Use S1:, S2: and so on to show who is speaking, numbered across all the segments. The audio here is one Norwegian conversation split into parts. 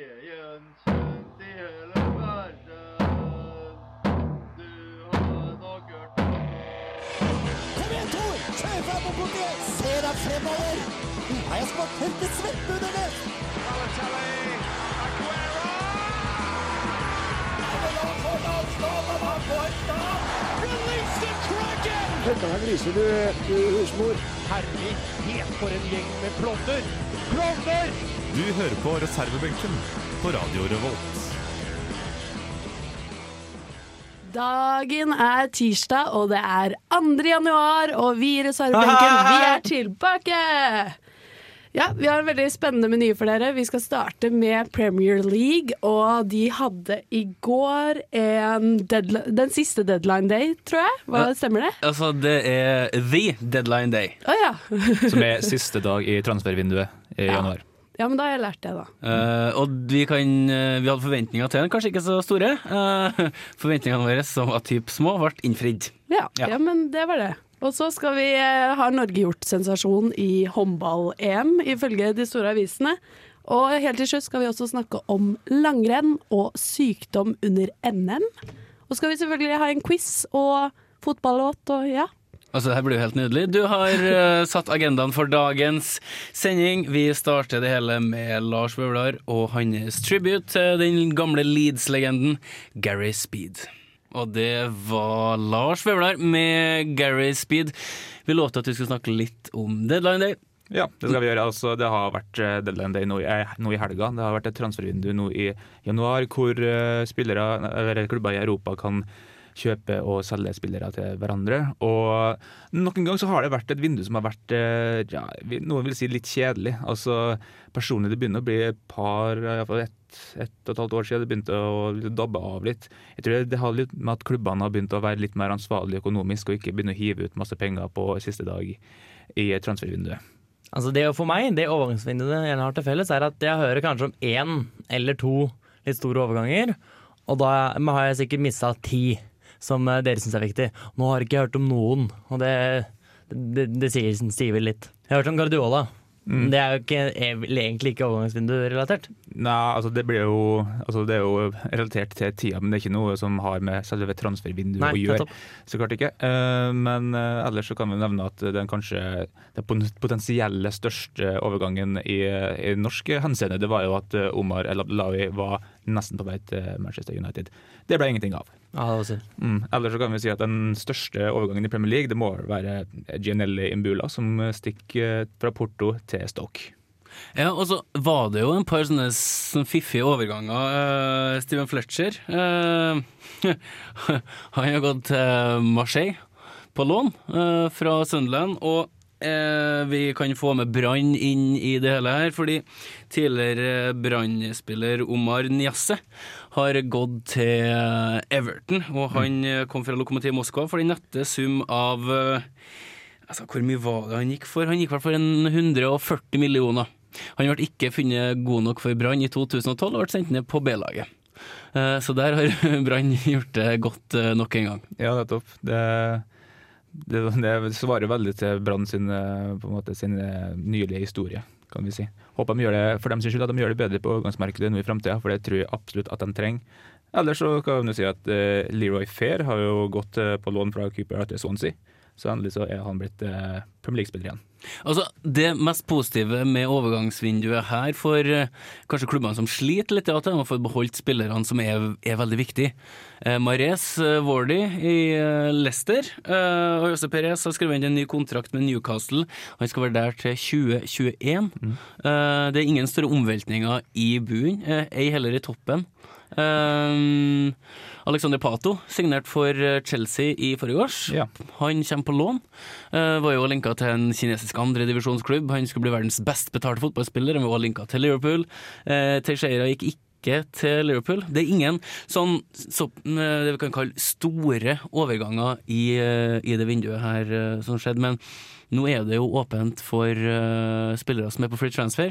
S1: Veien kjent i hele verden. Du har nok hørt om
S2: Kom igjen, Tor! Kjør fram og bort igjen! Se deg fremover! Nå har jeg spart helt svett under det!
S3: Du hører på reservebenken på Radio Revolt.
S4: Dagen er tirsdag, og det er 2. januar, og vi i reservebenken, vi er tilbake! Ja, Vi har en veldig spennende meny for dere. Vi skal starte med Premier League. Og de hadde i går en deadli- den siste deadline day, tror jeg. Hva, stemmer det?
S5: Altså, det er the deadline day.
S4: Å ja.
S6: Som er siste dag i transfervinduet i januar.
S4: ja. Men da har jeg lært det, da.
S5: Eh, og vi, kan, eh, vi hadde forventninger til den, kanskje ikke så store. Eh, forventningene våre, som var typ små, ble innfridd.
S4: Ja, ja.
S5: Ja.
S4: men det var det. Og så skal vi eh, ha Norge gjort sensasjon i håndball-EM, ifølge de store avisene. Og helt til slutt skal vi også snakke om langrenn og sykdom under NM. Og skal vi selvfølgelig ha en quiz og fotballåt og ja.
S5: Altså, det her blir jo helt nydelig. Du har eh, satt agendaen for dagens sending. Vi starter det hele med Lars Vaular og hans tribute til den gamle Leeds-legenden Gary Speed. Og det var Lars Vaular med Gary Speed. Vi lovte at vi skulle snakke litt om deadline day.
S6: Ja, det skal vi gjøre. Altså, det har vært eh, deadline day nå i, eh, nå i helga. Det har vært et transfervindu nå i januar hvor eh, spillere, eller klubber i Europa kan kjøpe og selge spillere til hverandre. Og nok en gang så har det vært et vindu som har vært eh, ja, vi- noen vil si litt kjedelig. Altså, personlig det begynner å bli et par, eh, i hvert fall ett ett og et halvt år siden det begynte å dabbe av litt. Jeg tror det har litt med at klubbene har begynt å være litt mer ansvarlige økonomisk og ikke begynne å hive ut masse penger på siste dag i transfervinduet.
S7: Altså det er jo For meg, det overgangsvinduet jeg har til felles, er at jeg hører kanskje om én eller to litt store overganger, og da men har jeg sikkert mista ti som eh, dere syns er viktig. Nå har jeg ikke hørt om noen, og det, det, det sier, sier vel litt. Jeg har hørt om Guardiola. men Det er jo ikke, er vel egentlig ikke overgangsvindu-relatert.
S6: Nei, altså det, blir jo, altså det er jo relatert til tida, men det er ikke noe som har med selve transfervinduet
S7: Nei,
S6: å gjøre.
S7: nettopp.
S6: Så klart ikke. Eh, Men eh, ellers så kan vi nevne at den kanskje den pon- potensielle største overgangen i, i norsk henseende, det var jo at eh, Omar El Abdelawi var nesten på vei til Manchester United. Det ble ingenting av.
S7: Ja, det var synd.
S6: Mm. Ellers så kan vi si at den største overgangen i Premier League, det må være Gianelli Imbula, som stikker eh, fra Porto til Stoke.
S5: Ja, og så var det jo en par sånne, s- sånne fiffige overganger. Eh, Steven Fletcher eh, Han har gått til Marseille på lån eh, fra Sunderland. Og eh, vi kan få med Brann inn i det hele her, fordi tidligere Brann-spiller Omar Njasse har gått til Everton. Og han eh, kom fra Lokomotiv Moskva for den nette sum av eh, Altså, Hvor mye var det han gikk for? Han gikk i hvert fall for en 140 millioner. Han ble ikke funnet god nok for Brann i 2012 og ble sendt ned på B-laget. Eh, Så der har Brann gjort det godt eh, nok en gang.
S6: Ja, nettopp. Det, det, det svarer veldig til Brann sin, eh, på en måte, sin eh, nylige historie, kan vi si. Håper de gjør det for dem sin skyld at de gjør det bedre på overgangsmarkedet nå i framtida, for det tror jeg absolutt at de trenger. Ellers så kan du si at eh, Leroy Fair har jo gått eh, på lån fra Cooper til Swansea, så endelig så er han blitt eh, Premier League-spiller igjen.
S5: Altså, Det mest positive med overgangsvinduet her for eh, kanskje klubbene som sliter litt, er at de har fått beholdt spillerne som er, er veldig viktige. Eh, Mares eh, Wardy i eh, Leicester eh, og Jose Perez har skrevet inn en ny kontrakt med Newcastle. Han skal være der til 2021. Eh, det er ingen større omveltninger i buen, eh, ei heller i toppen. Eh, Alexander Pato, signert for eh, Chelsea i forgårs.
S6: Ja.
S5: Han kommer på lån. Eh, var jo linka til en kinesisk andredivisjonsklubb. Han skulle bli verdens best betalte fotballspiller. Han var også linka til Liverpool. Uh, Teixeira gikk ikke til Liverpool. Det er ingen sånn så, eh, det vi kan kalle store overganger i, eh, i det vinduet her eh, som skjedde, men nå er det jo åpent for eh, spillere som er på free transfer.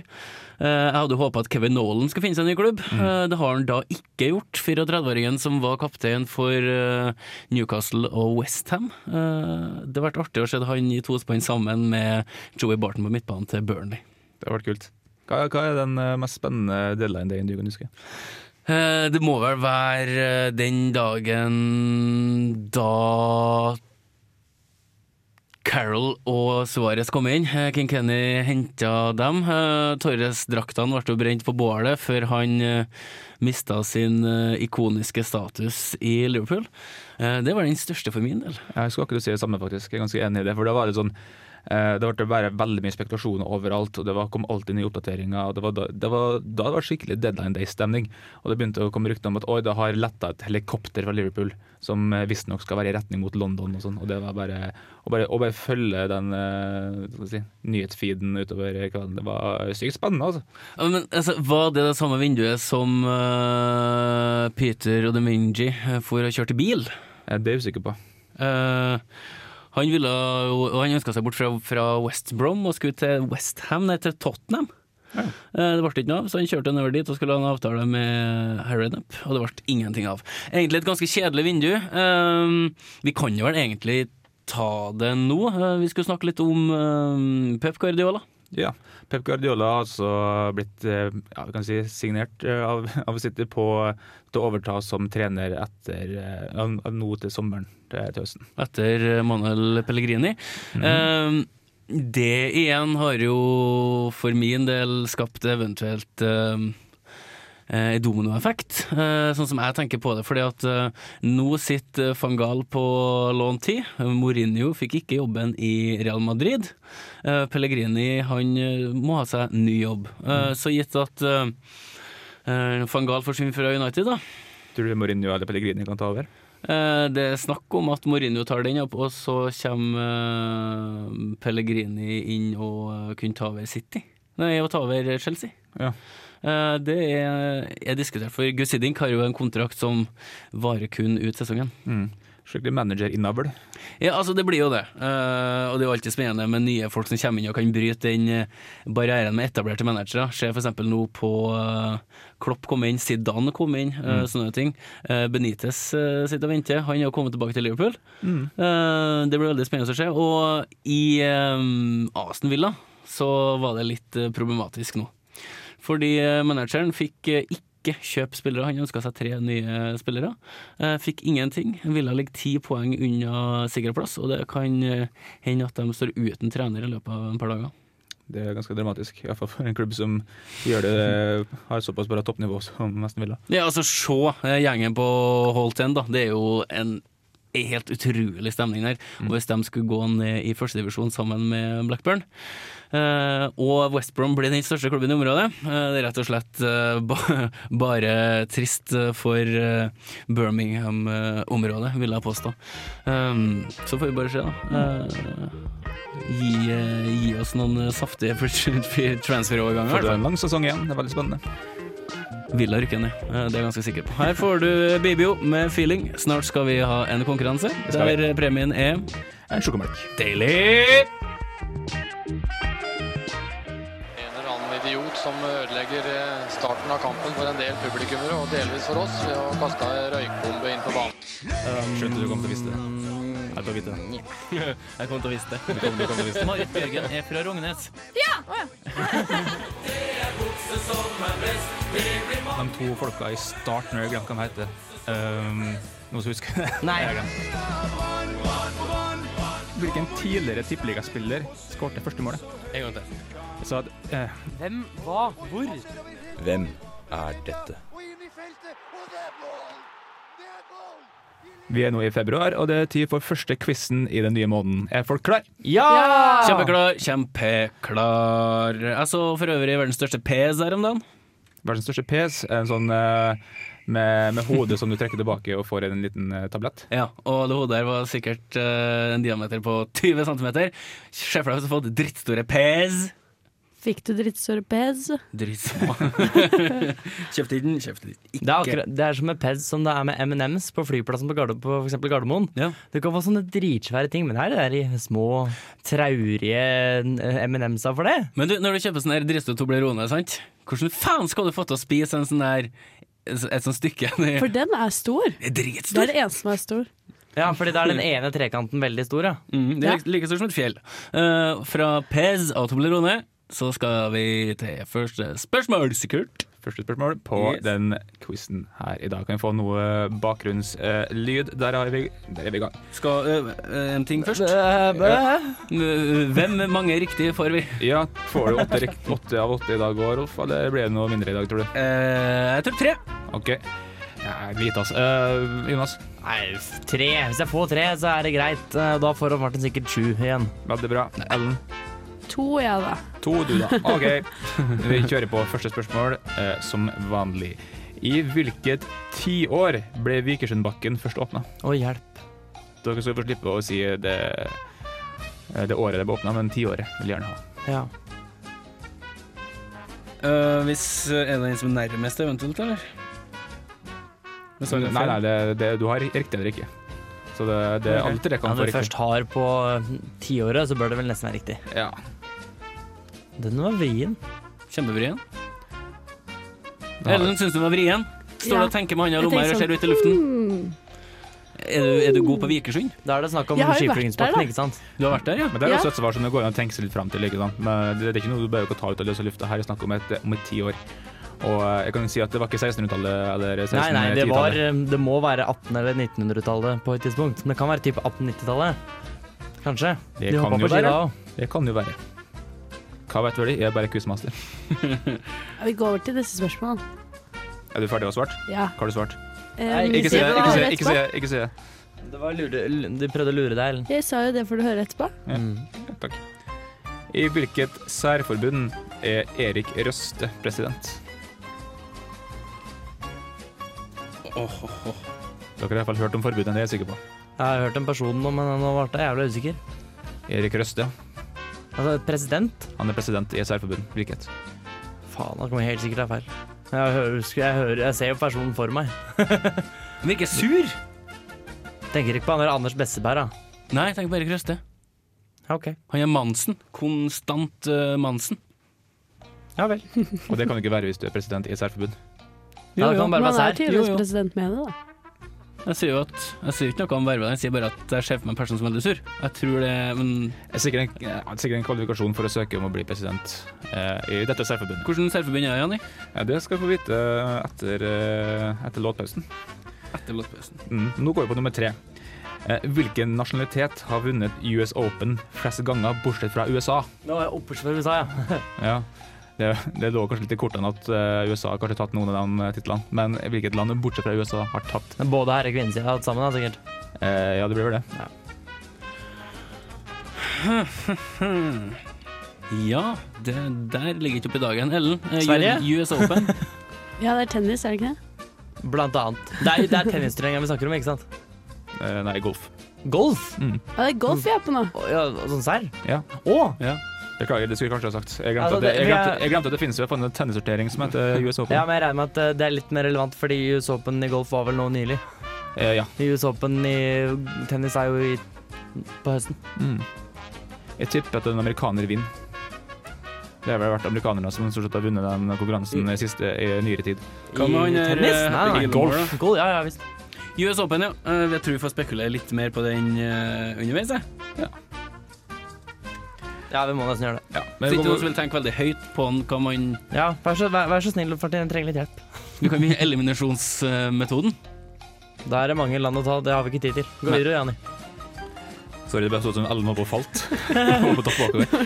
S5: Eh, jeg hadde håpa at Kevin Nolan skulle finne seg en ny klubb. Eh, det har han da ikke gjort. 34-åringen som var kaptein for eh, Newcastle og Westham. Uh, det har vært artig å se han i tospann sammen med Joey Barton på midtbanen til Burnley.
S6: Det har vært kult. Hva, hva er den eh, mest spennende deadline dagen du kan huske?
S5: Eh, Det må vel være eh, den dagen da Carol og Suárez kom inn. Eh, King Kenny henta dem. Eh, Torres-draktene ble jo brent på bålet før han eh, mista sin eh, ikoniske status i Liverpool. Eh, Det var den største for min del.
S6: Jeg skulle akkurat si det samme, faktisk. Jeg er ganske enig i det. For da var det sånn eh, Det ble bare veldig mye spekulasjoner overalt, og det var, kom alltid nye oppdateringer. Og det var da, det var, da det var skikkelig deadline day-stemning. Og det begynte å komme rykter om at oi, det har letta et helikopter fra Liverpool, som eh, visstnok skal være i retning mot London og sånn. Og det var bare Å bare, å bare følge den eh, hva skal jeg si, nyhetsfeeden utover kvelden, det var sykt spennende, altså.
S5: Ja, Men altså, Var det det samme vinduet som eh, Peter og Deminji for å kjøre til bil?
S6: Eh, Det er jeg usikker på.
S5: Eh, han ville jo- og han ønska seg bort fra, fra West Brom og skulle til Westham, nei, til Tottenham. Eh, Det ble ikke noe av, så han kjørte nedover dit og skulle ha en avtale med Harrodup, og det ble ingenting av. Egentlig et ganske kjedelig vindu. Eh, Vi kan jo vel egentlig ta det nå. Eh, Vi skulle snakke litt om eh, Pep Guardiola.
S6: Ja. Pep Guardiola har altså blitt eh, ja, vi kan si, signert eh, av, av City på til å overta som trener etter eh, ja, nå til sommeren til til høsten.
S5: etter eh, Manuel Pellegrini. Eh, det igjen har jo for min del skapt eventuelt eh, en dominoeffekt, eh, sånn som jeg tenker på det. fordi at eh, nå sitter Fangal på lån 10. Mourinho fikk ikke jobben i Real Madrid. Eh, Pellegrini han eh, må ha seg ny jobb. Eh, Så gitt at eh, eh, Fangal forsvinner fra United, da,
S6: Tror du Mourinho eller Pellegrini kan ta over?
S5: Eh, Det er snakk om at Mourinho tar den opp, og så kommer eh, Pellegrini inn og eh, kunne ta over City. Nei, og ta over Chelsea.
S6: Ja.
S5: Eh, Det er, er diskutert, for Gus Hiddink har jo en kontrakt som varer kun ut sesongen.
S6: Mm. Skikkelig managerinnavl.
S5: Ja, altså det blir jo det. Eh, og det er jo alltid spennende med nye folk som kommer inn og kan bryte den eh, barrieren med etablerte managere. Se f.eks. nå på eh, Klopp kom inn, Zidane kom inn, eh, sånne ting. Eh, Benitez eh, sitter og venter, han har kommet tilbake til Liverpool. Eh, det blir veldig spennende å se. Og i eh, Aston Villa så var det litt eh, problematisk nå. Fordi eh, manageren fikk eh, ikke kjøpe spillere, han ønska seg tre nye spillere. Eh, Fikk ingenting. Ville ligge ti poeng unna sikker plass, og det kan eh, hende at de står uten trener i løpet av et par dager.
S6: Det er ganske dramatisk, iallfall for en klubb som gjør det, har såpass bra toppnivå som nesten ville.
S5: Ja, altså se eh, gjengen på Holt End, da. Det er jo en en helt utrolig stemning der. Og hvis de skulle gå ned i førstedivisjon sammen med Blackburn eh, Og West Brom blir den største klubben i området. eh, det er rett og slett eh, ba bare trist eh, for eh, Birmingham-området, vil jeg påstå. Um, så får vi bare se, da. Eh, gi, eh, gi oss noen eh, saftige transferoverganger. i hvert
S6: For
S5: fall.
S6: det er en lang sesong igjen, det er veldig spennende.
S5: Villa rykker ned, Eh, det er jeg ganske sikker på. Her får du Bibio med feeling. Snart skal vi ha en konkurranse
S6: skal vi.
S5: der premien er
S6: En sjokomelk.
S5: Deilig!
S8: En eller annen idiot som ødelegger eh, starten av kampen for en del publikummere, og delvis for oss, ved å kaste ei røykbombe inn på banen.
S6: Skjønte du kom til å vise det. Jeg tar vite det.
S5: Jeg kom til å vise det. Marit Bjørgen er fra Rognes.
S6: De to folka i starten, jeg glemte hva de heter. Um, noen som husker det?
S5: Nei.
S6: Jeg har glemt. Hvilken tidligere tippeligaspiller skåret første målet?
S5: En gang til.
S6: Så at, eh, vi er nå i februar, og det er tid for første quizen i den nye måneden. Er folk klar?
S5: Kjempeklar, kjempeklar. Jeg så for øvrig verdens største PS her om dagen.
S6: Verdens største pes er en sånn eh, med, med hodet som du trekker tilbake og får en liten eh, tablett.
S5: Ja, og det hodet her var sikkert eh, en diameter på 20 cm. Se for deg hvis du har fått drittstore PS.
S4: Fikk du drittstore pez?
S5: Drittsmå. Kjøpte den, kjøpte den ikke.
S7: Det er, akkurat, det er som med Pez som det er med M&M's på flyplassen på, Garder, på for eksempel Gardermoen.
S5: Ja.
S7: Du kan få sånne dritsvære ting, men her er det de små, traurige M&M's-a for det.
S5: Men du, når du kjøper sånn her dristo Toblerone, sant? hvordan faen skal du få til å spise en sånn her et sånt stykke?
S4: For den er stor.
S5: Det er
S4: Det er
S5: dritstor.
S4: det eneste som er stor.
S7: Ja, fordi det er den ene
S5: Mhm,
S7: trekanten veldig stor, ja.
S5: Mm, det er like- like stort som et fjell. Eh, fra Pez av Toblerone så skal vi til første spørsmål, sikkert.
S6: Første spørsmål på
S5: Yes.
S6: den quizen her i dag. Kan vi få noe eh, bakgrunnslyd? Der, har vi, der er vi i gang.
S5: Skal ø, ø, En ting først.
S7: Bæ.
S5: Eh, Hvem mange riktige får vi?
S6: Ja, Får du åtte, rikt- åtte av åtte i dag òg, Rolf? Eller blir det noe mindre i dag, tror du?
S5: Eh, jeg tror tre.
S6: OK. Ja, Hvite, altså. Eh, Jonas,
S7: Nei, f- tre. Hvis jeg får tre, så er det greit. Eh, Da får Martin sikkert sju igjen.
S6: veldig bra. Ellen,
S4: To, jeg, da.
S6: to du, da. OK. Vi kjører på første spørsmål, eh, som vanlig. I hvilket tiår ble Vikersundbakken først åpna?
S7: Å, hjelp.
S6: Dere skal få slippe å si det, eh, det året det ble åpna, men tiåret vil jeg gjerne ha.
S7: Ja.
S5: Eh, hvis eh, er det en som er nærmest eventuelt, eller? Hvis han
S6: Nei,
S5: er feil.
S6: nei, det, det, du har riktig eller ikke. Så det, det
S7: Ok.
S6: alle tre kan
S7: Når
S6: få
S7: du
S6: riktig.
S7: først har på eh, tiåret, så bør det vel nesten være riktig.
S6: Ja.
S7: Den var vrien.
S5: Kjempevrien.
S6: Da har
S5: Ellen syns den var vrien. Står
S4: Ja.
S5: og tenker med handa i
S4: Jeg
S5: lomma her og
S4: tenker
S5: ser ut i luften.
S4: Mm.
S5: Er du, er du god på Vikersund?
S7: Da er det snakk om
S4: Jeg har jo vært der, da.
S7: skiflygingsparten, ikke sant?
S5: Du har vært der, ja?
S6: Men det er jo
S4: Ja.
S6: et svar som det går an å tenke seg litt fram til. Ikke sant? Men det, det er ikke noe du bare kan ta ut av løse lufta. Her er det snakk om et om et tiår. Og eh, jeg kan jo si at det var ikke 1600-tallet eller
S7: Nei, nei, det, var,
S6: 1610-tallet.
S7: eh, det må være 1800- eller 1900-tallet på et tidspunkt. Men det kan være typ 1890-tallet. Kanskje.
S6: Det
S7: De
S6: kan jo
S7: hoppa på ski
S6: være.
S7: da òg.
S6: Det kan jo være. Hva vet vel de? Jeg er bare quizmaster.
S4: Ja, Vi går over til neste spørsmål.
S6: Er du ferdig å ha svart?
S4: Ja.
S6: Hva har du svart?
S4: Eh,
S7: Nei,
S4: vil
S6: Ikke
S4: du
S6: si
S4: hva
S6: det,
S4: du
S6: ikke si
S4: hører
S6: det, ikke si
S4: etterpå?
S6: det. Ikke si det.
S7: Det var lure, de prøvde å lure deg, Ellen.
S4: Jeg sa jo det får du høre etterpå.
S7: Mm.
S6: Takk. I hvilket særforbund er Erik Røste president? Dere har i hvert fall hørt om forbudet, det er jeg sikker på.
S7: Jeg har hørt om personen nå, men nå ble jeg jævlig usikker.
S6: Erik Røste, ja.
S7: Altså, president?
S6: han er president i et særforbund. Hvilket?
S7: Faen, da kommer jeg helt sikkert til å ha feil. Jeg, hører, husker- jeg, hører, jeg ser jo personen for meg.
S5: Han virker sur.
S7: Tenker ikke på han der Anders Besseberg, da.
S5: Nei, tenk på Erik Røste.
S7: Ja, ok.
S5: Han er Mansen. Konstant eh, Mansen.
S7: Ja vel.
S6: Og det kan du ikke være hvis du er president i et særforbund.
S7: Ja, det kan bare
S4: Men han
S7: være
S4: er
S7: sær.
S5: Jo,
S4: tydeligvis
S5: jo.
S4: president med det, da.
S5: Jeg sier jo at, jeg sier ikke noe om vervet, jeg sier bare at jeg ser for meg en person som er veldig sur. Jeg tror det, men
S6: Det er sikkert en, eh, sikkert en kvalifikasjon for å søke om å bli president eh, i dette særforbundet.
S5: Hvordan særforbund er jeg, Janni?
S6: Ja, det skal vi få vite etter, eh, etter låtpausen.
S5: Etter låtpausen.
S6: Mm. Nå går vi på nummer tre. Eh, Hvilken nasjonalitet har vunnet US Open flest ganger, bortsett fra USA?
S7: Nå er jeg oppover i USA, ja.
S6: Ja, Det, det lå kanskje litt i kortene at eh, USA har kanskje tatt noen av de eh, titlene. Men hvilket land bortsett fra USA har tatt?
S7: Men Både herre- og kvinnesida har hatt sammen, da, sikkert.
S6: Eh, ja, det blir vel det.
S5: Ja, det der ligger ikke oppe i dagen. Ellen, eh,
S7: Sverige?
S5: US Open.
S4: Ja, det er tennis, er det ikke det?
S7: Blant annet. Det er, det er tennisturneringa vi snakker om, ikke sant?
S6: Eh, nei, golf.
S7: Golf?
S4: Ja, det er golf jeg er på nå.
S7: Å, Ja, sånn serr?
S6: Ja.
S7: Å!
S6: Beklager, det skulle jeg kanskje ha sagt. Jeg
S7: Altså,
S6: glemte, at, det,
S7: det-
S6: jeg,
S7: jeg-
S6: glemte, jeg glemte at det finnes jo en tennissortering som heter US Open.
S7: Ja, men jeg regner med at eh, det er litt mer relevant, fordi US Open i golf var vel nå nylig.
S6: Eh, ja.
S7: US Open i tennis er jo i, på høsten.
S6: Mm. Jeg tipper at en amerikaner vinner. Det har vel vært amerikanerne som stort sett har vunnet den konkurransen i, siste, i nyere tid.
S5: Hva med han
S7: I
S5: der,
S7: tennis?
S5: eh,
S7: Nei, nei,
S5: Gilmore,
S7: golf. golf. Ja, ja visst.
S5: US Open, ja. Eh, Jeg tror vi får spekulere litt mer på den eh, underveis, jeg.
S7: Ja, vi må nesten gjøre det.
S6: Ja,
S5: Så
S6: men
S5: ikke noen som vil tenke veldig høyt på den, hva man
S7: Ja, vær så, vær, vær så snill, Martin, jeg trenger litt hjelp.
S5: Du kan begynne eliminasjonsmetoden.
S7: Da er det mange land å ta, det har vi ikke tid til. Gå
S5: Nei.
S7: videre, Jani.
S6: Sorry, det ble sånn som Ellen var på falt. Var på topp bakover.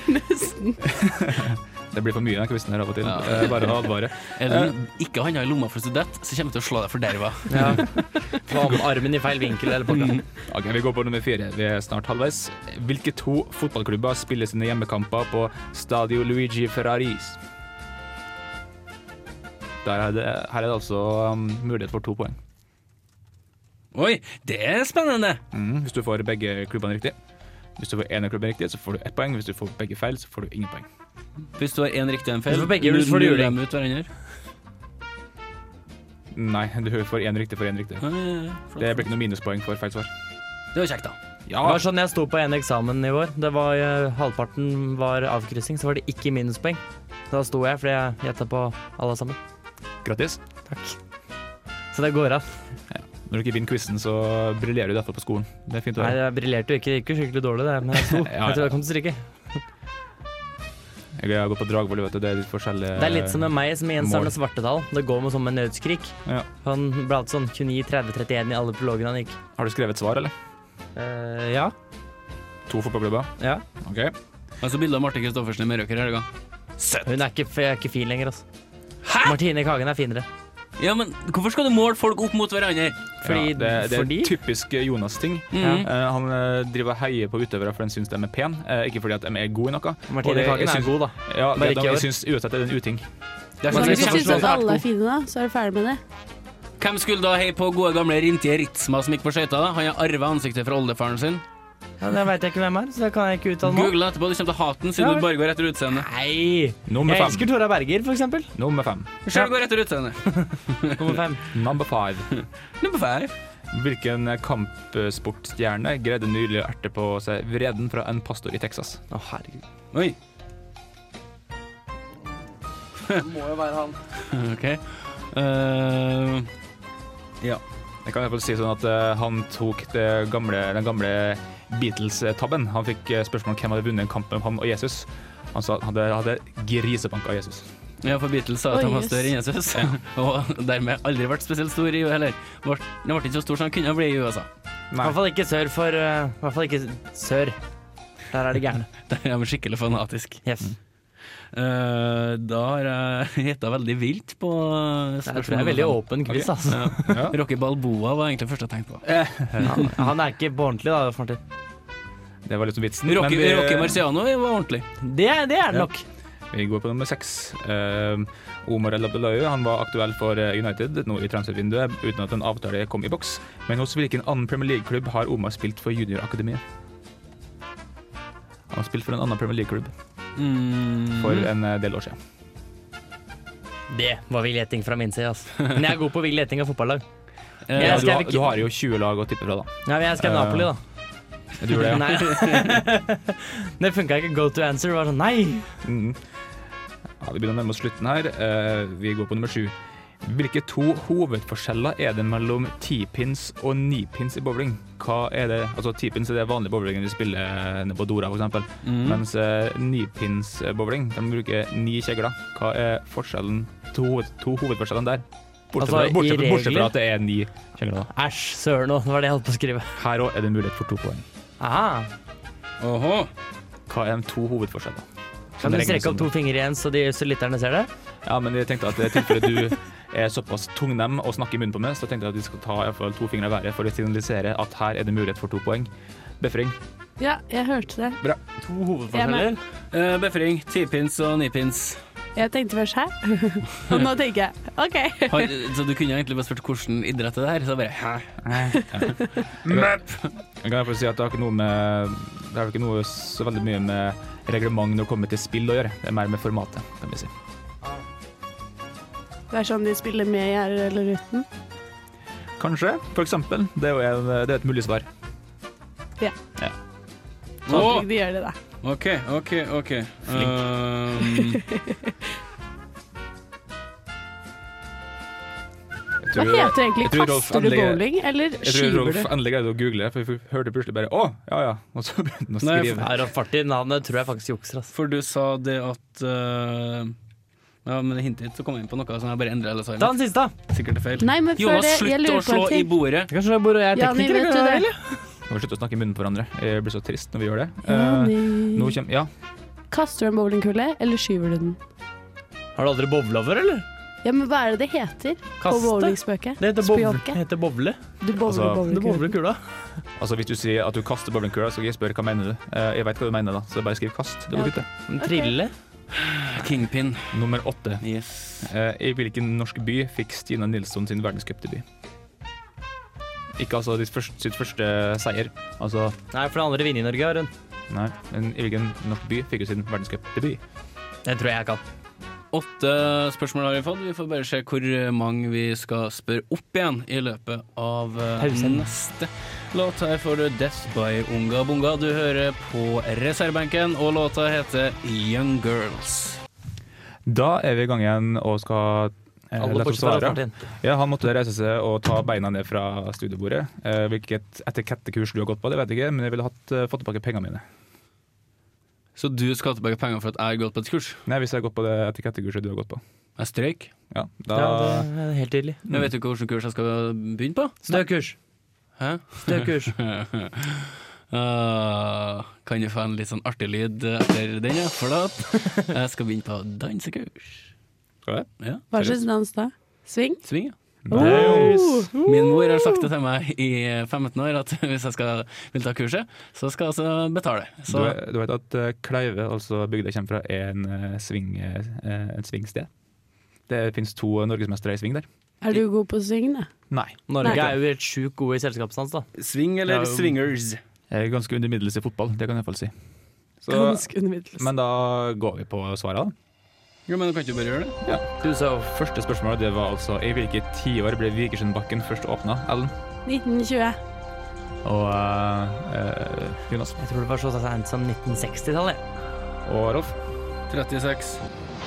S6: Det blir for mye i den quizen her av og til.
S5: Ja.
S6: Eh, Bare å advare.
S5: Ellen, ikke handa i lomma for student, så kommer jeg til å slå deg for derva.
S7: Ja. Mm. Hva om armen i feil vinkel eller pakka?
S6: Ok, vi går på nummer fire. Vi er snart halvveis. Hvilke to fotballklubber spiller sine hjemmekamper på Stadio Luigi Ferraris? Der er det, her er det altså um, mulighet for to poeng.
S5: Oi, det er spennende!
S6: Mm, hvis du får begge klubbene riktig. Hvis du får én av klubbene riktig, så får du ett poeng. Hvis du får begge feil, så får du ingen poeng.
S5: Hvis du har én riktig og en feil,
S7: Du får begge, du får
S5: nuller
S7: juling.
S5: dem ut hverandre.
S6: Nei, du får én riktig for én riktig.
S5: Ja, ja, ja, flott.
S6: Det blir ikke noe minuspoeng for feil svar.
S5: Det var kjekt, da.
S6: Ja,
S7: Det var sånn jeg sto på en eksamen i vår. Det var, eh, halvparten var avkryssing, så var det ikke minuspoeng. Da sto jeg fordi jeg gjetta på alle sammen.
S6: grattis.
S7: Så det går an.
S6: Når du ikke vinner quizen, så briljerer du derfor på skolen. Det er fint å
S7: Nei,
S6: høre.
S7: jeg briljerte jo ikke, det gikk jo skikkelig dårlig, det, men jeg sto.
S6: Ja, ja.
S7: Jeg tror jeg kom til å stryke.
S6: Jeg Sverige og gått på dragvoll, vet du. Det er litt forskjellige
S7: Det er litt som med meg som i Jens
S6: Mål.
S7: Arne Svartedal. Det går med som en nødskrik.
S6: Ja.
S7: Han ble alltid sånn 29, 30, 31 i alle prologene han gikk.
S6: Har du skrevet svar, eller?
S7: Eh, ja.
S6: To fotballklubber.
S7: ja.
S6: OK.
S5: Jeg så bilde av Marte Kristoffersen i Meråker i helga.
S7: Hun er ikke, f- er ikke fin lenger, altså. Martine Kagen er finere.
S5: Ja, men hvorfor skal du måle folk opp mot hverandre?
S7: Fordi,
S6: ja, det, det er
S7: fordi Mm.
S6: typisk eh, Jonas-ting.
S5: Mhm.
S6: Eh, han eh, driver og heier på utøvere fordi han syns de er pene, eh, ikke fordi at de er gode i noe. Og
S7: Martine
S6: det-
S7: Kagen
S6: jeg
S7: er
S6: syns-
S7: god, da.
S6: Ja,
S7: Bare
S6: det,
S7: ikke i
S6: de,
S7: år.
S6: jeg syns uansett er det en uting.
S5: Det er
S4: Men hvis
S5: sånn at
S4: du
S5: vi
S4: syns
S5: kjemper-
S4: at alle er fine, da, så er du ferdig med det.
S5: Hvem skulle da heie på gode gamle Rintie Ritsma som gikk på skøyter? da? Han har arvet ansiktet fra oldefaren sin.
S7: Ja, det veit jeg ikke hvem er, så det kan jeg ikke uttale meg om.
S5: Google etterpå, du kommer til å hate den siden
S7: Ja.
S5: du bare går etter utseendet.
S7: Nei!
S6: Nummer
S7: Jeg
S6: fem.
S7: elsker Tora Berger, for eksempel.
S6: Nummer fem.
S5: Selv går etter utseendet.
S7: Nummer fem.
S6: Number five.
S5: Nummer five.
S6: Hvilken kampsportstjerne greide nylig å erte på seg vreden fra en pastor i Texas?
S7: Å, herregud.
S5: Oi,
S1: Det må jo være han.
S5: ok. Eh,
S6: Jeg kan i hvert fall si sånn at eh, Han tok det gamle, den gamle Beatles-tabben. Han fikk eh, spørsmål om hvem hadde vunnet en kamp mellom han og Jesus. Han sa at han hadde, hadde grisebanka Jesus.
S5: ja, for Beatles sa at han
S4: Oi,
S5: var
S4: jøss.
S5: større enn Jesus, og dermed aldri vært spesielt stor i heller. Vart- Den ble ikke så stor som den kunne bli i USA.
S7: I hvert fall ikke sør for eh, I hvert fall ikke sør. Der er det gærne.
S5: Der er vi skikkelig fanatisk.
S7: Yes.
S5: Eh, da har jeg gjetta veldig vilt på eh,
S7: Det er, tror jeg er veldig åpen quiz, altså.
S6: Ja.
S5: Rocky Balboa var egentlig det første jeg tenkte på.
S7: Han, han er ikke på ordentlig, da, Martin.
S6: Det var liksom vitsen.
S5: Rocky,
S6: men vi,
S5: Rocky Marciano var ordentlig.
S7: Det, er- det er det nok.
S6: vi går på nummer seks. Eh, Omar El Abdullahi han var aktuell for eh, United nå i transfervinduet uten at en avtale kom i boks. Men hos hvilken annen Premier League-klubb har Omar spilt for juniorakademiet? Han har spilt for en annen Premier League-klubb
S5: Mm.
S6: for en eh, del år siden.
S7: Det var vill gjetting fra min side, altså. Men jeg er god på vill gjetting av fotballag.
S5: Eh,
S7: Jeg
S6: Ja, du,
S7: skrev
S6: har,
S7: ikke-
S6: du har jo 20 lag å tippe fra, da.
S7: Nei, men jeg skrev
S6: Eh,
S7: Napoli, da.
S6: Du gjør det, ja.
S7: Nei. det funka ikke. Go to answer var sånn nei.
S6: Mm. ja. Det begynner å nærme oss slutten her. Eh, vi går på nummer sju. Hvilke to hovedforskjeller er det mellom tipins og nipins i bowling? Hva er det? Altså Tipins er det vanlige bowlingen vi spiller eh, nede på Dora, f.eks.
S7: Mhm.
S5: Mm.
S6: Mens eh, nipins-bowling, de bruker ni kjegler. Hva er forskjellen to, hoved, to hovedforskjellene der? Bortsett,
S7: Altså,
S6: fra,
S7: i
S6: bortsett, fra- bortsett
S7: regler?
S6: fra at det er ni kjegler. da.
S7: Æsj, søren òg. Det var det jeg holdt på å skrive.
S6: Her òg er det mulighet for to poeng.
S7: Aha.
S5: Åhå.
S6: Hva er de to hovedforskjellene? sånn-
S7: Kan du strekke opp to fingre igjen, så, de, så lytterne ser det?
S6: Ja, men jeg tenkte at i tilfelle du er såpass tungnem og snakker i munnen på meg, så tenkte jeg at vi skal ta i hvert fall to fingre i været for å signalisere at her er det mulighet for to poeng. Befring.
S4: Ja, jeg hørte det.
S7: To
S4: hovedforskjeller.
S5: Eh, Befring, tipins og nipins.
S4: Jeg tenkte først hæ? Og nå tenker jeg OK.
S5: Har, så du kunne egentlig bare spurt hvordan idrett er det her, så bare hæ?
S6: Jeg kan i hvert fall si at det har ikke noe med Det har ikke noe så veldig mye med reglement når det kommer til spill å gjøre. Det er mer med formatet, kan vi si.
S4: Det er sånn de spiller med gjerder eller uten.
S6: Kanskje, for eksempel. Det er jo en, det er et mulig svar.
S4: Håper
S5: Åh,
S4: ikke de gjør det, da.
S5: OK, OK, OK. Um,
S6: Jeg
S4: Hva
S6: tror-
S4: heter det egentlig?
S6: jeg tror Rolf
S4: Kaster du
S6: endelig-
S4: bowling, eller
S6: Jeg tror
S4: skyver du?
S6: Rolf endelig greide å google det, for vi hørte plutselig bare 'Å, ja ja', og så begynte han å
S5: Nei,
S6: skrive.
S7: Ja, Rolf Martin, navnet tror jeg faktisk jukser, ass.
S5: for du sa det at eh, Ja, men det hintet ditt så kom jeg inn på noe som jeg bare endret hele
S7: Ta
S5: sangen.
S7: den siste.
S5: Sikkert er feil.
S4: Nei, men før
S5: Jonas,
S4: det, jeg
S5: slutt å
S4: lurer på
S5: slå
S4: en
S5: i
S4: ting.
S5: bordet.
S7: Kanskje jeg bor og jeg er
S4: Jani,
S7: tekniker?
S4: vet du
S7: kan jeg
S4: det?
S7: velge?
S6: Nå må vi slutte å snakke i munnen på hverandre. Jeg blir så trist når vi gjør det. Eh, nå
S4: Jani.
S6: kommer Ja.
S4: Kaster du en bowlingkule, eller skyver du den?
S7: Har du aldri bowla før, eller?
S4: Ja, men hva er det det heter på
S7: Kaste?
S4: bowlingspøket?
S7: Det heter bowle.
S4: Spjåke.
S7: Det heter bowle.
S4: Du bowler
S6: Altså,
S7: Du bowler
S4: bowlingkulen.
S7: kula.
S6: Altså Hvis du sier at du kaster bowlingkula, så skal jeg spørre hva mener du Eh, Jeg vet hva du mener, da, så bare skriv 'kast'. Det går
S4: Ja.
S6: fint, det.
S7: Men Trille.
S5: Kingpin.
S6: Nummer åtte.
S5: Yes.
S6: Eh, I hvilken norsk by fikk Stina Nilsson sin verdenscupdebut? Ikke altså ditt først, sitt første seier, altså
S7: Nei, for det andre vinner i Norge, har hun.
S6: Nei. Men i hvilken norsk by fikk hun sin verdenscupdebut?
S7: Det tror jeg jeg kan.
S5: Åtte spørsmål har vi fått. Vi får bare se hvor mange vi skal spørre opp igjen i løpet av eh,
S7: Pausen.
S5: neste låt. Her får du Death by Unga Bunga. Du hører på reservebenken, og låta heter Young Girls.
S6: Da er vi i gang igjen og skal eh, la
S7: Alle
S6: oss
S7: bortsett fra Rolf
S6: svare.
S7: Martin.
S6: Ja, han måtte reise seg og ta beina ned fra studiebordet. Eh, hvilket etikettekurs du har gått på, det vet jeg ikke, men jeg ville hatt, eh, fått tilbake pengene mine.
S5: Så du skal ha tilbake penger for at jeg har gått på et kurs?
S6: Nei, hvis jeg har gått på det etikettekurset du har gått på.
S5: Jeg strøyk.
S6: Ja, da
S7: Ja, det er helt tydelig.
S5: Jeg vet jo ikke hvilken kurs jeg skal begynne på.
S7: Støkurs.
S5: Hæ?
S7: Støkurs.
S5: Ah, kan du få en litt sånn artig lyd etter den, ja? For at jeg skal begynne på dansekurs.
S6: Skal det?
S5: Ja,
S4: Hva slags dans da? Swing?
S5: Sving, ja.
S6: Nice.
S5: Min mor har sagt det til meg i 15 år, at hvis jeg skal, vil ta kurset, så skal jeg altså betale.
S6: Du,
S5: Så
S6: du vet at eh, Kleive, altså bygda jeg kommer fra, er en, eh, sving, eh, et svingsted. Det finnes to norgesmestere i sving der.
S4: Er du god på swing, da?
S6: Nei.
S7: Norge
S4: Nei.
S7: er jo helt sjukt gode i selskapsdans, da.
S5: sving eller swingers?
S6: Jeg er ganske under middels i fotball, det kan jeg iallfall si. Så,
S4: Ganske undermiddels.
S6: men da går vi på svaret. da.
S5: Jo, men du kan ikke bare gjøre det.
S7: Du så
S6: Første spørsmål det var altså i hvilket tiår ble Vikersundbakken først åpna? Ellen
S4: 1920.
S6: og eh, eh, Jonas
S7: Jeg tror det var så seint som 1960-tallet.
S6: og Rolf.
S5: 36.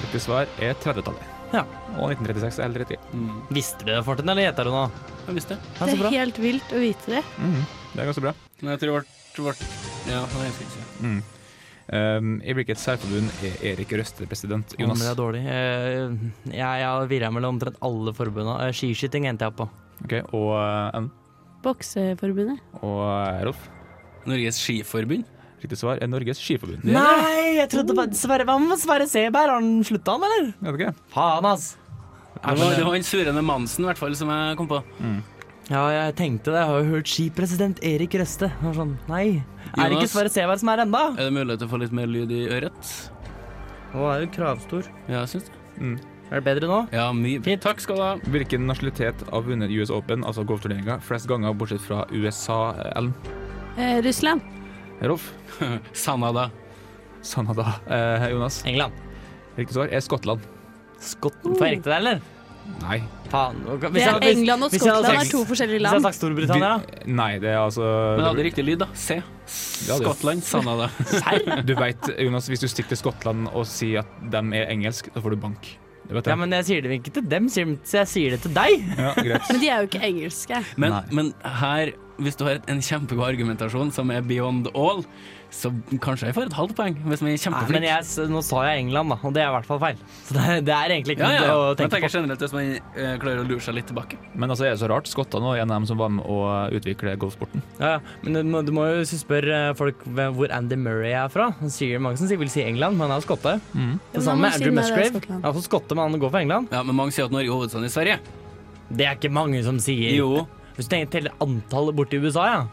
S6: Riktig svar er 30-tallet.
S7: Ja.
S6: Og 1936 eller 30.
S7: Visste du det, Fortin, eller gjetta du nå?
S5: Mm. Jeg visste det.
S7: Ja,
S4: Det
S7: så
S4: er
S7: bra.
S4: helt vilt å vite det.
S6: Det er ganske bra.
S5: Men jeg tror det ble- ble Ja, nei, jeg skal ikke si.
S6: Um, Mm. I hvilket særforbund er Erik Røste president? Jonas.
S7: Jonas. Det er dårlig. Eh, Jeg, jeg virra mellom omtrent alle forbundene. Eh, Skiskyting endte jeg på.
S6: Ok, og eh, Ellen
S4: Bokseforbundet.
S6: og eh, Rolf.
S5: Norges Skiforbund.
S6: Riktig svar er Norges Skiforbund.
S7: Nei, jeg trodde bare Sverre, Hva med Sverre Seberg? Har han slutta, han, eller?
S6: Er det ikke? det?
S7: Faen, ass.
S5: Det var, det var han surrende Mansen, i hvert fall, som jeg kom på.
S7: Ja, jeg tenkte det. Jeg har jo hørt skipresident Erik Røste. Jeg var Sånn, nei. Er det
S5: Jonas.
S7: ikke Sverre Seberg som er enda?
S5: Er det mulighet til å få litt mer lyd i øret?
S7: Han er jo kravstor.
S5: Ja, jeg syns det.
S7: Er det bedre nå?
S5: Ja, mye.
S7: Fint.
S5: Takk skal du ha.
S6: Hvilken nasjonalitet har vunnet US Open, altså golfturneringa, flest ganger bortsett fra USA, eh, Ellen?
S4: Eh, Russland.
S6: Rolf?
S5: Sanada.
S6: Sanada. Eh, Jonas?
S7: England.
S6: Riktig svar er Skottland.
S7: Skotten. Får jeg riktig der, eller?
S6: Nei.
S7: Faen. ok, hvis
S4: Det
S7: jeg-
S4: er
S7: hvis-
S4: England og
S7: hvis jeg hadde
S4: Skottland
S7: sagt-
S4: er to forskjellige
S7: Hvis jeg hadde
S4: land.
S7: sagt Storbritannia, da?
S6: Vi- Nei, det er altså
S5: Men jeg hadde riktig lyd, da. C.
S6: Ja, det-
S5: Skottland. Sanada.
S6: Du vet, Jonas, hvis du stikker til Skottland og sier at de er engelsk, da får du bank. Det vet jeg.
S7: Ja, men jeg sier det ikke til dem, sier- så jeg sier det til deg.
S6: Ja, greit.
S4: Men de er jo ikke engelske.
S5: Men,
S6: Nei.
S5: men her, hvis du har et- en kjempegod argumentasjon som er beyond all, så kanskje jeg får et halvt poeng, hvis vi er
S7: Nei, men
S5: kjempeflinke.
S7: jeg, s- nå sa jeg England, da, og det er i hvert fall feil. Så det, er- det er egentlig
S5: Ja,
S7: ikke
S5: ja.
S7: noe å
S5: Men Jeg
S7: tenke på.
S5: tenker generelt hvis man eh, klarer å lure seg litt tilbake.
S6: Men altså, er det så rart? Skottene var en av dem som var med å utvikle golfsporten.
S7: Ja, ja. Men du må, du må jo spørre eh, folk hvem- hvor Andy Murray er fra. Han sier, mange som sier, vil si England, men han er jo skotte.
S6: Mm.
S7: Det
S4: men
S7: samme
S4: han må
S7: med
S4: si nei, det
S7: Andrew
S4: er
S7: Musgrave.
S4: Skottland.
S7: Han er også skotte, men han går for England.
S5: Ja, Men mange sier at Norge er hovedstaden i Sverige.
S7: Det er ikke mange som sier.
S5: Jo,
S7: Hvis du tenker teller antallet borti USA, ja,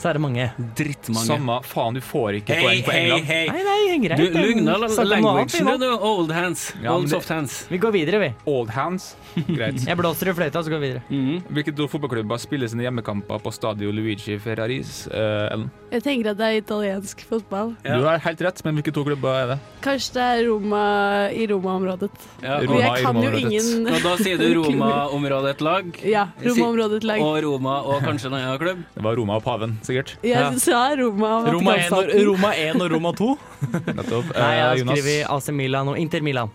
S7: så er det mange.
S5: drittmange.
S6: Samme faen, du får ikke
S5: Hei,
S6: poeng på
S5: hei,
S6: England.
S5: hei!
S7: Nei, nei, greit.
S5: Du
S7: det er-
S5: lugna
S7: snakk om noe annet, vi
S5: languagen,
S7: nå.
S5: du. Old hands.
S6: Ja, men
S5: Old
S6: det-
S5: soft hands.
S7: Vi går videre, vi.
S6: Old hands. Greit.
S7: Jeg blåser i fløyta, så går vi videre.
S6: Hvilke to fotballklubber spiller sine hjemmekamper på Stadio Luigi Ferraris? Eh, Ellen?
S4: Jeg tenker at det er italiensk fotball.
S5: Ja.
S6: Du har helt rett, men hvilke to klubber er det?
S4: Kanskje det er Roma i Roma-området.
S5: Ja,
S4: Men
S5: og,
S6: Roma i
S4: jeg kan jo
S6: Roma-området.
S4: ingen
S5: og da sier du Roma-området et lag,
S4: Ja, Roma-området lag.
S5: og Roma og kanskje en annen klubb.
S6: Det var Roma og paven, sikkert.
S7: Ja.
S4: Jeg sa Roma. og
S7: Roma 1 og,
S4: Vatikanstaten.
S7: Roma 1 og Roma 2.
S6: Nettopp.
S7: Nei, jeg har
S6: Eh, Jonas
S7: skrevet AC Milan og Inter Milan.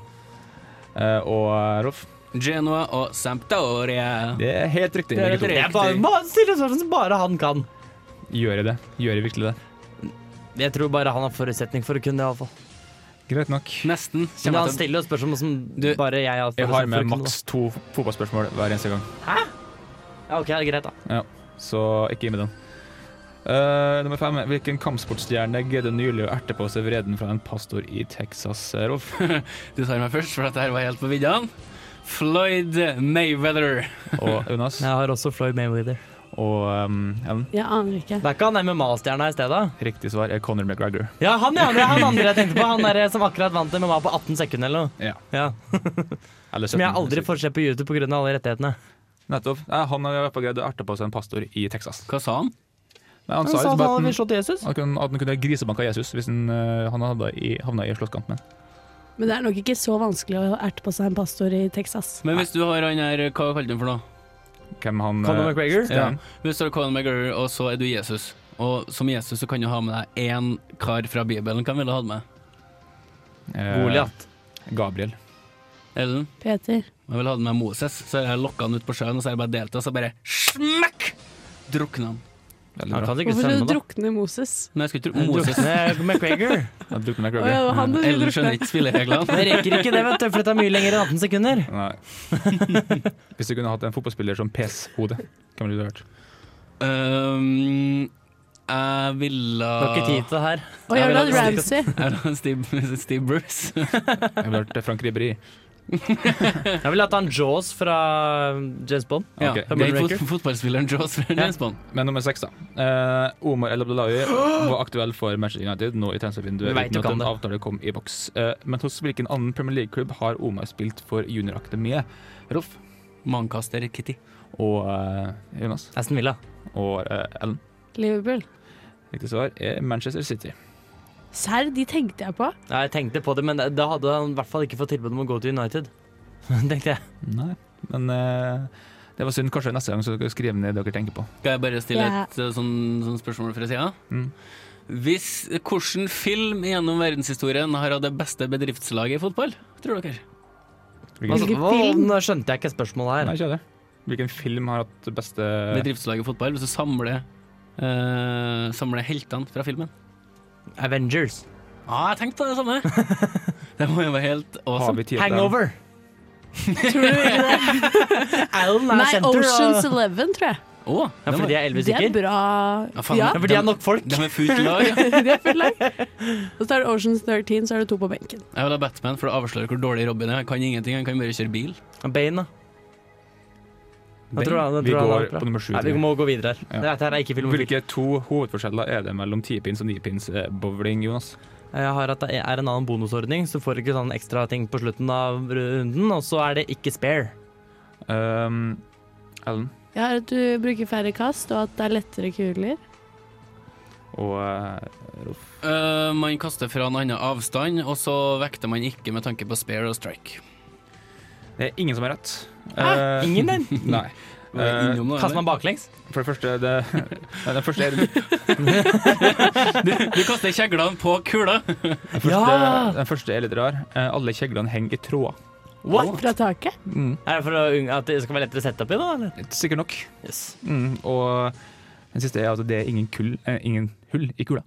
S6: eh, og eh, Rolf.
S5: Genoa og Sampdoria.
S6: Det er helt riktig.
S5: Det er
S6: begge
S5: helt
S6: to.
S7: Jeg bare, bare stiller spørsmål som bare han kan.
S6: Gjør jeg det? Gjør jeg virkelig det?
S7: Jeg tror bare han har forutsetning for å kunne det, iallfall.
S6: Greit nok.
S5: Nesten.
S7: Men
S5: Kommer
S7: han
S5: jeg til.
S7: stiller jo spørsmål som
S5: Du,
S7: bare jeg har
S6: Jeg har med
S7: forutsetning for å kunne
S6: maks to fotballspørsmål hver eneste gang,
S7: det. Ja, ok, det er greit, da.
S6: så ikke gi meg den. Eh, nummer fem. Hvilken kampsportstjerne greide nylig å erte på seg vreden fra en pastor i Texas, eh, Rolf?
S5: Du tar meg først, for dette her var helt på viddene. Floyd Mayweather.
S6: Og Jonas?
S7: Jeg har også Floyd Mayweather.
S6: Og um, Ellen?
S4: Jeg aner ikke.
S7: Det er ikke han MMA-stjerna i stedet?
S6: Riktig svar er Conor McGregor.
S7: Ja, han ja, det er han andre jeg tenkte på. Han der som akkurat vant MMA på 18 sekunder eller noe.
S6: Ja.
S7: Ja,
S6: Eller
S7: Som jeg
S6: 17.
S7: aldri får se på YouTube pga. alle rettighetene.
S6: Nettopp. Nei, han har i hvert fall greid å erte på seg en pastor i Texas.
S5: Hva sa han?
S6: Nei, han, sa
S7: Han sa
S6: liksom
S7: at han
S6: bare
S7: hadde
S6: at han,
S7: slått Jesus.
S6: at han, at han kunne grisebanka Jesus hvis han, eh, han hadde i, havna i slåsskamp med ham.
S4: Men det er nok ikke så vanskelig å erte på seg en pastor i Texas.
S5: Men hvis du har han her, hva kalte han for noe?
S6: Hvem han eh,
S7: Conor McGregor?
S6: Ja.
S5: Hvis du har Conor McGregor, og så er du Jesus. Og som Jesus så kan du ha med deg én kar fra Bibelen. Hvem ville du hatt med?
S6: Eh,
S7: Goliat.
S6: Gabriel.
S5: Ellen?
S4: Peter.
S5: Jeg ville hatt med Moses. Så har jeg lokka han ut på sjøen, og så har jeg bare delt det, og så bare smekk! Drukna han.
S6: Veldig
S7: Han
S6: bra.
S7: kan sikkert
S4: Hvorfor skal du
S7: svømme, da.
S4: drukne Moses?
S5: Nei, jeg skulle tro Moses.
S7: Drukne McGregor.
S6: Jeg drukner meg
S4: Å ja, det
S6: Kroger.
S4: var han du skulle
S5: Eller skjønner
S4: drukne.
S5: ikke spillereglene.
S7: Men jeg rekker ikke det, vet du, for dette er mye lenger enn 18 sekunder.
S6: Nei. Hvis du kunne hatt en fotballspiller som PS-hode, hvem ville du vært?
S5: Um, jeg ville
S7: Du
S6: Ah.
S7: har ikke tid til det her.
S4: Og
S5: Jeg vil
S4: Jørdan
S5: ha-
S4: Ramsey.
S5: Er det Steve, Steve Bruce?
S6: Jeg ville vært Frank Ribéry.
S7: Jeg ville hatt han Jaws fra um, James Bond.
S5: Ja,
S6: Ok.
S5: det er fot fotballspilleren Jaws fra Nesbånd.
S6: Men nummer seks, da. Eh, Omar El Abdullahi var aktuell for Manchester United nå i transfervinduet
S7: Vi vet
S6: uten at
S7: jo ikke
S6: en
S7: om det.
S6: avtale kom i boks. Eh, men hos hvilken annen Premier League-klubb har Omar spilt for juniorakademiet? Rolf
S5: Mannkaster Kitty.
S6: og eh, Jonas
S7: Aston Villa.
S6: og eh, Ellen.
S4: Liverpool.
S6: Riktig svar er Manchester City.
S4: Serr, de tenkte jeg på.
S7: Ja, jeg tenkte på det, men da hadde han i hvert fall ikke fått tilbud om å gå til United. Tenkte jeg.
S6: Nei, men eh, det var synd. Kanskje neste gang så skal dere skrive ned det dere tenker på.
S5: Skal jeg bare stille
S4: Ja.
S5: et eh, sånn, sånn spørsmål fra sida?
S6: Mm.
S5: Hvis Hvilken film gjennom verdenshistorien har hatt det beste bedriftslaget i fotball, tror dere?
S6: Hvilken,
S7: Altså,
S4: Hvilken
S7: hva,
S4: film?
S7: nå skjønte jeg ikke spørsmålet her.
S6: nei, ikke det. Hvilken film har hatt det beste
S7: Eh.
S5: Bedriftslaget i fotball, hvis du samler, eh, samler heltene fra filmen.
S7: Avengers.
S5: Ja, ah, jeg tenkte på det samme! det må jo være helt
S6: Har
S5: awesome.
S6: vi tid til den?
S7: Hangover.
S4: Tror du ikke det?
S7: Alan er
S4: Nei,
S7: senter.
S4: Oceans
S7: og...
S4: Eleven, tror jeg.
S5: Å,
S7: ja,
S5: den
S7: fordi
S5: var-
S7: de er Elvis
S4: Det er
S7: sikker?
S4: bra.
S5: Ja, faen,
S4: Ja,
S7: Ja, fordi de er nok folk.
S5: den er fullt lag. ja.
S4: de er fullt lag. Og så er det Oceans 13, så er det to på benken.
S5: Jeg vil ha Batman, for det avslører hvor dårlig Robin er. Han kan ingenting, han kan bare kjøre bil.
S7: Bane, da. Jeg tror han- jeg
S6: Vi
S7: tror han er
S6: går
S7: bra.
S6: på nummer sju.
S7: Nei, vi
S6: tror jeg.
S7: må gå videre her.
S6: Ja.
S7: Dette her er ikke filmofil.
S6: Hvilke to hovedforskjeller er det mellom tipins og nipins eh, bowling, Jonas?
S7: Jeg har at det er en annen bonusordning, så du får ikke sånn ekstra ting på slutten av runden, og så er det ikke spare.
S6: Um, Ellen
S4: Jeg har at du bruker færre kast, og at det er lettere kuler.
S6: og eh, Rolf.
S5: Eh, man kaster fra en annen avstand, og så vekter man ikke med tanke på spare og strike.
S6: Det er ingen som har rett. Eh,
S7: Ingen den?
S6: Nei.
S5: Var jeg
S6: Eh,
S5: innom noe,
S7: Kaster
S5: eller?
S7: man baklengs?
S6: For det første, det, Nei, den første er
S5: Du kaster kjeglene på kula!
S6: Den første,
S7: Ja!
S6: den første er litt rar. Eh, alle kjeglene henger i tråder.
S7: What?
S4: Fra taket.
S5: Mm.
S7: Er det for å unng- at det skal være lettere å sette opp i, da? Eller?
S6: Sikkert nok.
S7: Yes.
S6: Mm, og den siste er at det er ingen, kull, eh, ingen hull i kula.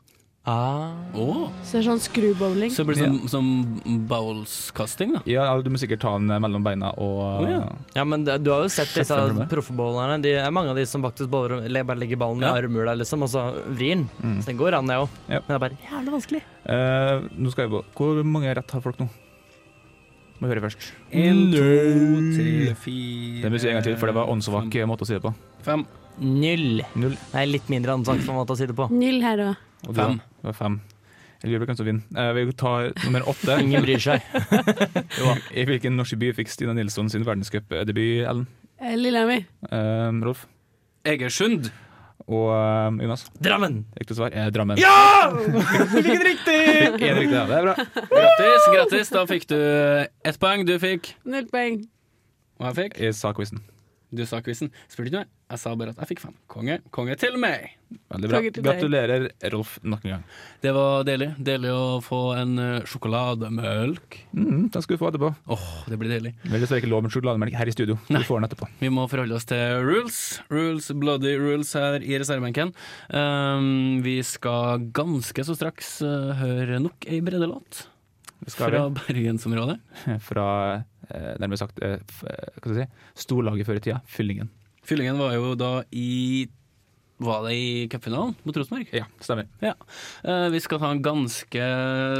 S7: Ah.
S5: Å,
S4: Så det er sånn skrubowling.
S5: Så det blir som, som bowls-kasting, da.
S6: Ja, du må sikkert ta den eh, mellom beina og
S5: Å, ja.
S7: Ja, men det- du har jo sett disse
S6: Skjønner du meg?
S7: proffbowlerne. De er mange av de som faktisk bare, le- bare legger ballen
S5: Ja.
S7: i armhula, liksom, og så vrir den. Så den går an, det òg.
S6: Ja.
S7: Men det er bare jævlig vanskelig.
S6: Eh, Nå skal vi på Hvor mange rett har folk nå? Må høre først.
S5: En, to, tre, fire
S6: Det må vi si en gang til, for det var åndssvak eh, måte å si det på.
S5: Fem.
S7: Null.
S6: Null.
S7: Nei, litt mindre ansvarsfull måte å si det på.
S4: Null her òg.
S6: Og du-
S5: Fem.
S6: Det var fem. Jeg lurer på hvem som vinner. Eh, vi tar nummer åtte.
S7: Ingen bryr seg.
S6: I hvilken norsk by fikk Stina Nilsson sin verdenscupdebut, Ellen?
S4: Lillehammer.
S6: Eh, Rolf?
S5: Egersund.
S6: Og eh, Jonas?
S7: Drammen!
S6: Riktig svar er Drammen. Ja! Hvilken riktig! En riktig, ja. Det er bra.
S5: Grattis, grattis. Da fikk du ett poeng. Du fikk
S4: Null poeng.
S5: Og jeg fikk.
S6: I sakquizen.
S5: Du sa quizen. Spurte ikke meg. Jeg sa bare at jeg fikk fem. Konge. Konge til meg.
S6: Veldig bra.
S4: Takk til deg.
S6: Gratulerer, Rolf, nok en gang.
S5: Det var deilig. Deilig å få en eh, sjokolademølk.
S6: Mm, den skal du få etterpå.
S5: Åh, det blir deilig.
S6: Det er dessverre ikke lov med sjokolademelk her i studio. Du får den etterpå.
S5: Vi må forholde oss til rules. Rules, bloody rules her i reservebenken. Um, vi skal ganske så straks eh, høre nok ei breddelåt
S6: Det skal
S5: fra bergensområdet.
S6: vi. Fra eh, nærmere sagt eh, f- eh, hva skal jeg si, storlaget før i tida, Fyllingen.
S5: Fyllingen var jo da i Var det i cupfinalen mot Rosenborg?
S6: Ja, stemmer.
S5: Ja. Eh, vi skal ta en ganske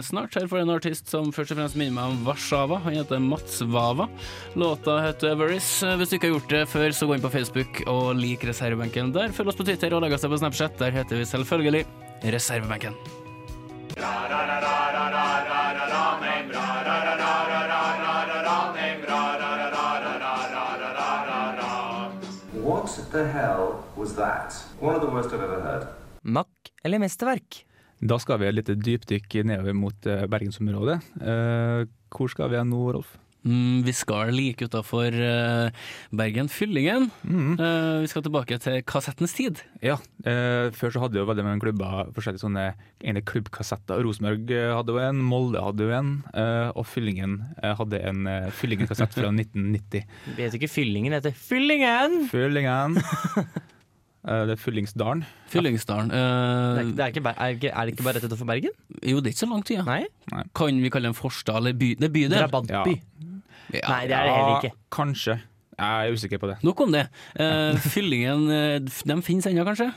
S5: snart her for en artist som først og fremst minner meg om Warszawa. Han heter Mats Wawa. Låta heter Worries. Eh, Hvis du ikke har gjort det før, så gå inn på Facebook og lik reservebenken der. Følg oss på Twitter og lag oss til på Snapchat. Der heter vi selvfølgelig Reservebenken.
S9: What the hell was that? One of the worst I've ever heard.
S7: Mack eller mesterverk?
S6: Da skal vi et lite dypdykk nedover mot eh, bergensområdet. Eh, hvor skal vi nå, Rolf?
S5: Mm, vi skal like utafor eh, Bergen Fyllingen.
S7: Mm.
S5: Eh, vi skal tilbake til Kassettens tid.
S6: Ja, eh, Før så hadde jo veldig mange klubber forskjellige sånne egne klubbkassetter. Rosenborg eh, hadde jo en, Molde hadde jo en, eh, og Fyllingen eh, hadde en eh, Fyllingen-kassett fra 1990.
S7: Vi heter ikke Fyllingen, det heter Fyllingen!
S6: Fyllingen! Eh, Det er Fyllingsdalen.
S5: Fyllingsdalen. eh,
S7: Det er, ikke- det er, ikke, Ber- er, ikke, er det ikke bare rett utenfor Bergen?
S5: jo, det er ikke så langt igjen.
S7: Nei?
S5: Kan vi kalle det en forstad eller by? Det er bydel.
S6: Ja.
S7: Drabantby.
S5: Ja.
S7: Nei, det er det heller ikke.
S6: Ja, kanskje. Jeg er usikker på det.
S5: Nok om det. Eh, fyllingen, eh, de finnes ennå, kanskje?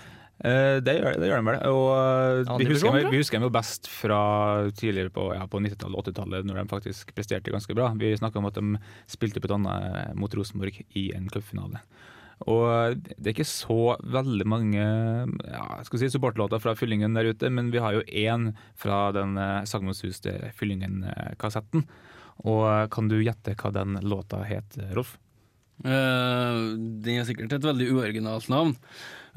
S6: Eh, Det gjør, det gjør de vel. Og eh,
S7: Andre
S6: vi husker,
S7: divisjon,
S6: dem-
S7: tror jeg.
S6: vi husker dem jo best fra tidligere på, ja, på 90-tallet og 80-tallet, når de faktisk presterte ganske bra. Vi snakka om at de spilte blant annet eh, mot Rosenborg i en cupfinale. Og eh, det er ikke så veldig mange ja, skal vi si, supportlåter fra Fyllingen der ute, men vi har jo én fra den eh, sagnomsuste Fyllingen-kassetten. Og eh, kan du gjette hva den låta het, Rolf?
S5: Eh, den er sikkert et veldig uoriginalt navn.